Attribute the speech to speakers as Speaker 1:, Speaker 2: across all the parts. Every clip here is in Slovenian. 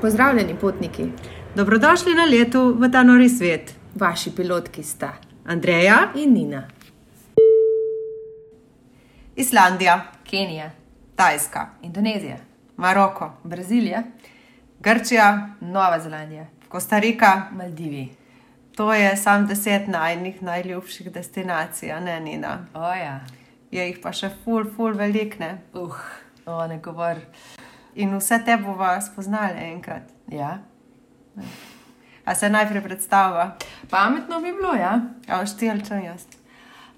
Speaker 1: Pozdravljeni potniki,
Speaker 2: Dobrodošli na letu v ta nori svet.
Speaker 1: vaši pilotki sta
Speaker 2: Andreja,
Speaker 1: in Nina.
Speaker 2: Islandija,
Speaker 1: Kenija,
Speaker 2: Tajska,
Speaker 1: Indonezija,
Speaker 2: Maroko,
Speaker 1: Brazilija,
Speaker 2: Grčija,
Speaker 1: Nova Zelandija,
Speaker 2: Kostarika.
Speaker 1: Maldivi.
Speaker 2: To je sam deset najnih najljubših destinacij, a ne Nina.
Speaker 1: Oja,
Speaker 2: Je jih pa še ful, ful velikne.
Speaker 1: uh, o, ne govor.
Speaker 2: In vse te bova spoznali enkrat.
Speaker 1: Ja.
Speaker 2: A se najprej predstava,
Speaker 1: Pametno bi bilo, ja.
Speaker 2: a boš ti ali če jaz.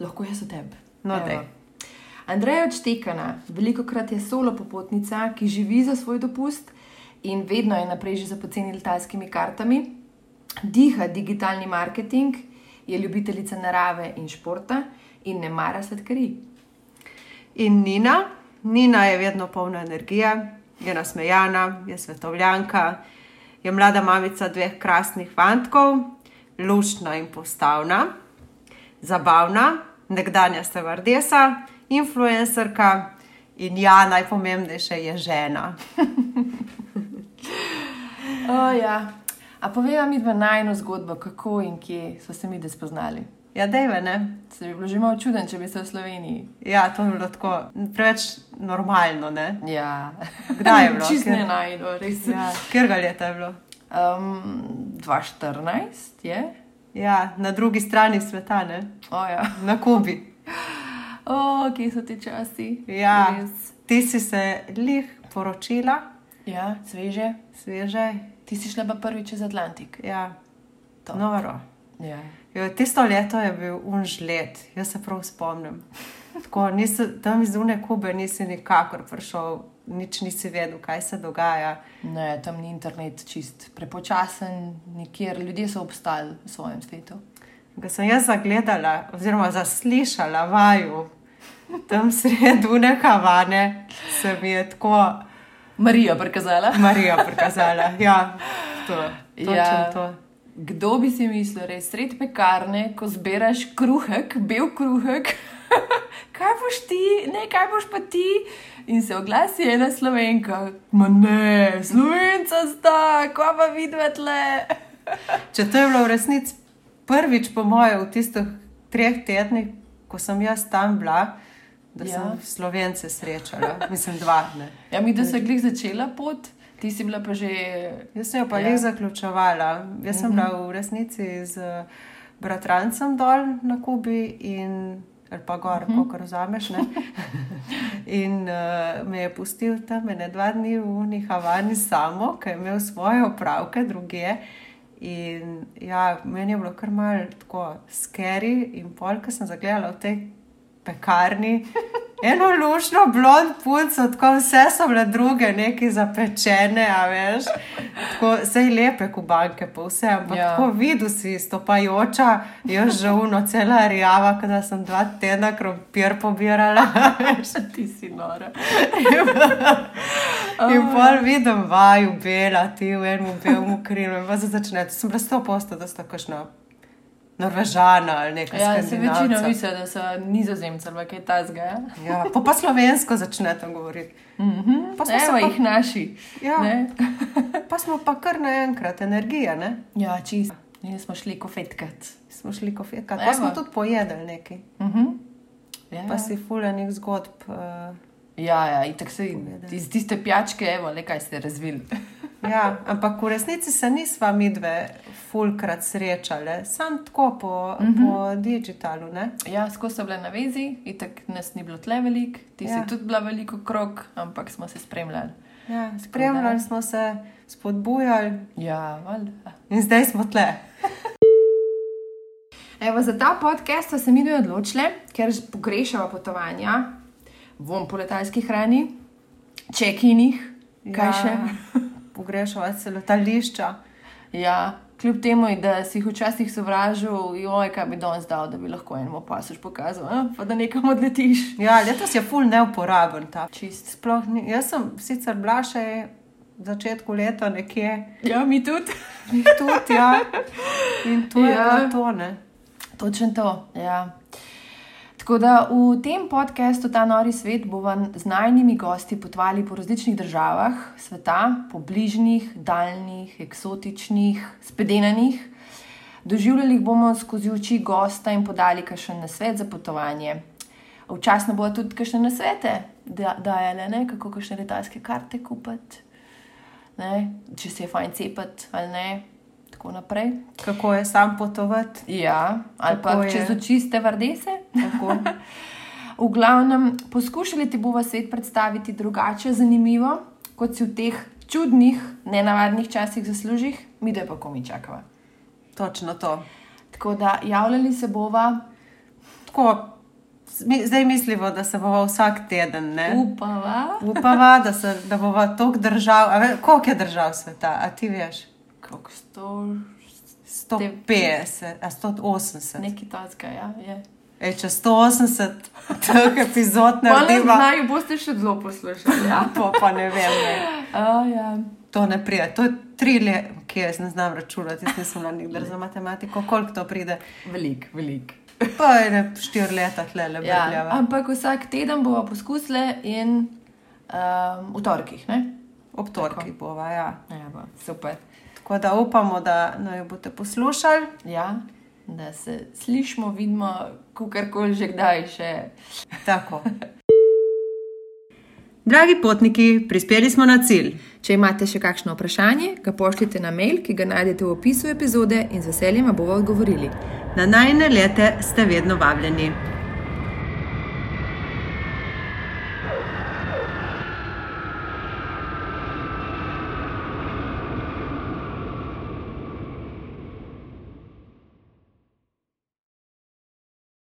Speaker 1: Lahko jaz o tebi.
Speaker 2: No,
Speaker 1: Evo.
Speaker 2: daj.
Speaker 1: Andreja Odštekana, veliko krat je solo popotnica, ki živi za svoj dopust in vedno je naprej že za poceni letalskimi kartami, diha digitalni marketing, je ljubiteljica narave in športa in ne mara sladkarij.
Speaker 2: In Nina, Nina je vedno polna energije, je nasmejana, je svetovljanka, je mlada mamica dveh krasnih fantkov, lušna in postavna, zabavna, nekdanja stevardesa, influencerka in ja, najpomembnejše je žena.
Speaker 1: Oh, ja. A povej mi dva najno zgodbo, kako in kje so se mi da spoznali.
Speaker 2: Ja, dejve, ne?
Speaker 1: Se bi bilo že malo čuden, če bi se v Sloveniji.
Speaker 2: Ja, to je bilo tako preveč normalno, ne?
Speaker 1: Ja,
Speaker 2: Kdaj je bilo?
Speaker 1: Čisto ne
Speaker 2: Ker-
Speaker 1: najdo, res.
Speaker 2: Ja, kjer ga leta je bilo?
Speaker 1: Um, 2014 je.
Speaker 2: Ja, na drugi strani sveta, ne?
Speaker 1: Oh, ja.
Speaker 2: Na Kubi.
Speaker 1: oh, kje so ti časi?
Speaker 2: Ja,
Speaker 1: Res.
Speaker 2: ti si se lih poročila,
Speaker 1: ja sveže.
Speaker 2: sveže.
Speaker 1: Ti si šla pa prvič čez Atlantik.
Speaker 2: Ja.
Speaker 1: To.
Speaker 2: Noro.
Speaker 1: Ja.
Speaker 2: Jo, tisto leto je bil unžlet, jaz se prav spomnim. Tako, nisi, tam iz Une Kube nisi nikakor prišel, nič nisi vedel, kaj se dogaja.
Speaker 1: Ne, tam ni internet čist prepočasen, nikjer ljudje so obstali v svojem svetu.
Speaker 2: Ko sem jaz zagledala, oziroma zaslišala vaju, tam sredi Une Havane, se mi je tako
Speaker 1: Marija prikazala.
Speaker 2: Marija prikazala. Ja, to, točno
Speaker 1: Ja.
Speaker 2: ja. to.
Speaker 1: Kdo bi si mislil, res sred pekarne, ko zbiraš kruhek, bel kruhek, kaj boš ti, ne, kaj boš pa ti? In se oglasi ena slovenka, ma ne, slovenca sta, kva pa vidvetle.
Speaker 2: Če to je bilo v resnici prvič, po mojem, v tistih treh tednih, ko sem jaz tam bila, da ja.
Speaker 1: Ja.
Speaker 2: sem slovence srečala, mislim, dva dni.
Speaker 1: Ja, mi da se je glih začela pot, ti si bila pa že.
Speaker 2: Jaz sem jo pa
Speaker 1: Ja.
Speaker 2: ja. le zaključovala. Jaz sem bila v resnici z eh, bratrancem dol na Kubi in ali pa gor, uh -huh. kako razumeš. in uh, me je pustil tam ene dva dni v Nihavani samo, ker je imel svoje opravke druge. In ja, meni je bilo kar malo tako skeri in pol, ker sem zagledala v tej pekarni. Eno lušno, blond punco, tako vse so bile druge, neki zapečene, a veš. Tako vse je lepe, kubanke, pa vse, ampak
Speaker 1: Ja.
Speaker 2: ja. tako videl si stopajoča, jaz žalno, cela rjava, kada sem dva tedna krompir pobirala.
Speaker 1: Ti si nora.
Speaker 2: In pol vidim vaju, bela, ti v enem belem krilu, in pa se začne, sem bila sto posto, da sta kakšna norvežana ali nekaj.
Speaker 1: Ja, se večino
Speaker 2: Skandinavca.
Speaker 1: misli, da so nizozemci ali kaj tasga. Ja?
Speaker 2: Ja, pa pa slovensko začne tam govoriti.
Speaker 1: Mm -hmm.
Speaker 2: Pa smo se
Speaker 1: Evo
Speaker 2: pa-
Speaker 1: jih naši.
Speaker 2: Ja.
Speaker 1: Ne?
Speaker 2: Pa smo pa kar naenkrat, energija, ne?
Speaker 1: Ja, čisto. In smo šli kofetkat.
Speaker 2: Smo šli kofetka,
Speaker 1: Evo.
Speaker 2: pa smo tudi pojedli nekaj.
Speaker 1: Mhm. Ja,
Speaker 2: Pa si fuljenih zgodb. Uh,
Speaker 1: ja, ja in tako se
Speaker 2: Povedal.
Speaker 1: iz tiste pijačke, evo, le kaj ste razvili.
Speaker 2: ja, ampak v resnici se nisva mi dve fulkrat srečali, sam tako po, mm
Speaker 1: Mhm.
Speaker 2: -hmm. po digitalu, ne?
Speaker 1: Ja, skozi so bile na vezi, in tako nas ni bilo tle veliko, ti ja.
Speaker 2: Ja.
Speaker 1: si tudi bila veliko krok, ampak smo se spremljali.
Speaker 2: Ja, spremljali smo se, spodbujali
Speaker 1: Ja, valjda.
Speaker 2: in zdaj smo tle.
Speaker 1: Evo, za ta podcast sva se mi dve odločili, ker ž- pogrešava potovanja, vom po letalski hrani, čekinih, kaj ja. še.
Speaker 2: Pogrešava se letališča.
Speaker 1: Ja, kljub temu, da si jih včasih sovražil, joj, kaj bi danes dal, da bi lahko enemu pasuš pokazal, a? pa da nekam odletiš.
Speaker 2: Ja, letos je ful neuporaben ta.
Speaker 1: Čist.
Speaker 2: Sploh ni. Jaz sem sicer bila še v začetku leta nekje.
Speaker 1: Ja, mi tudi.
Speaker 2: Jih tudi, ja. In to ja.
Speaker 1: Ja.
Speaker 2: je bilo to, ne.
Speaker 1: Točno to. Ja. Tako da v tem podkastu Ta nori svet bomo z najnimi gosti potovali po različnih državah sveta, po bližnjih, daljnih, eksotičnih, spedenanih. Doživljali jih bomo skozi oči gosta in podali kakšen nasvet za potovanje. Včasno bodo tudi kakšne nasvete, da dajale, ne, kako kakšne letalske karte kupiti, ne, če se je fajn cepati ali ne, tako naprej.
Speaker 2: Kako je sam potovati?
Speaker 1: Ja, ali
Speaker 2: Kako
Speaker 1: pa
Speaker 2: je?
Speaker 1: čez oči ste vrdese.
Speaker 2: Tako.
Speaker 1: V glavnem, poskušali ti bomo svet predstaviti drugače, zanimivo, kot si v teh čudnih, nenavadnih časih zaslužiš, mi da pa komi čakava.
Speaker 2: Točno to.
Speaker 1: Tako da javljali se bova,
Speaker 2: Tako, mi, zdaj mislimo, da se bomo vsak teden. Ne?
Speaker 1: upava,
Speaker 2: Upava, da, se, da bomo toliko držav, a ve- koliko je držav sveta, a ti veš?
Speaker 1: kako sto,
Speaker 2: 150, a 180.
Speaker 1: neki tacka, ja, je.
Speaker 2: Ej, če 180 teh epizod ne
Speaker 1: Hvala,
Speaker 2: dela,
Speaker 1: naj boste še zelo poslušali. Ja.
Speaker 2: pa, pa ne vem. Ne.
Speaker 1: A, ja.
Speaker 2: To ne pride. To je tri leta, ki jaz ne znam računati, jaz nisem bila nikdar za matematiko, koliko to pride.
Speaker 1: Velik, velik.
Speaker 2: Pa je ne štiri leta tle le
Speaker 1: Ja,
Speaker 2: brljava.
Speaker 1: ampak vsak teden bova poskusile in um, v torkih, ne?
Speaker 2: Ob torki bova, ja.
Speaker 1: Ja, bo, super.
Speaker 2: Tako da upamo, da naj boste poslušali.
Speaker 1: Ja, da se slišimo, vidimo, kakorkoli že kdaj še.
Speaker 2: Tako. Dragi potniki, prispeli smo na cilj.
Speaker 1: Če imate še kakšno vprašanje, ga pošljite na mail, ki ga najdete v opisu epizode in z veseljem vam bomo odgovorili.
Speaker 2: Na najne lete ste vedno vabljeni.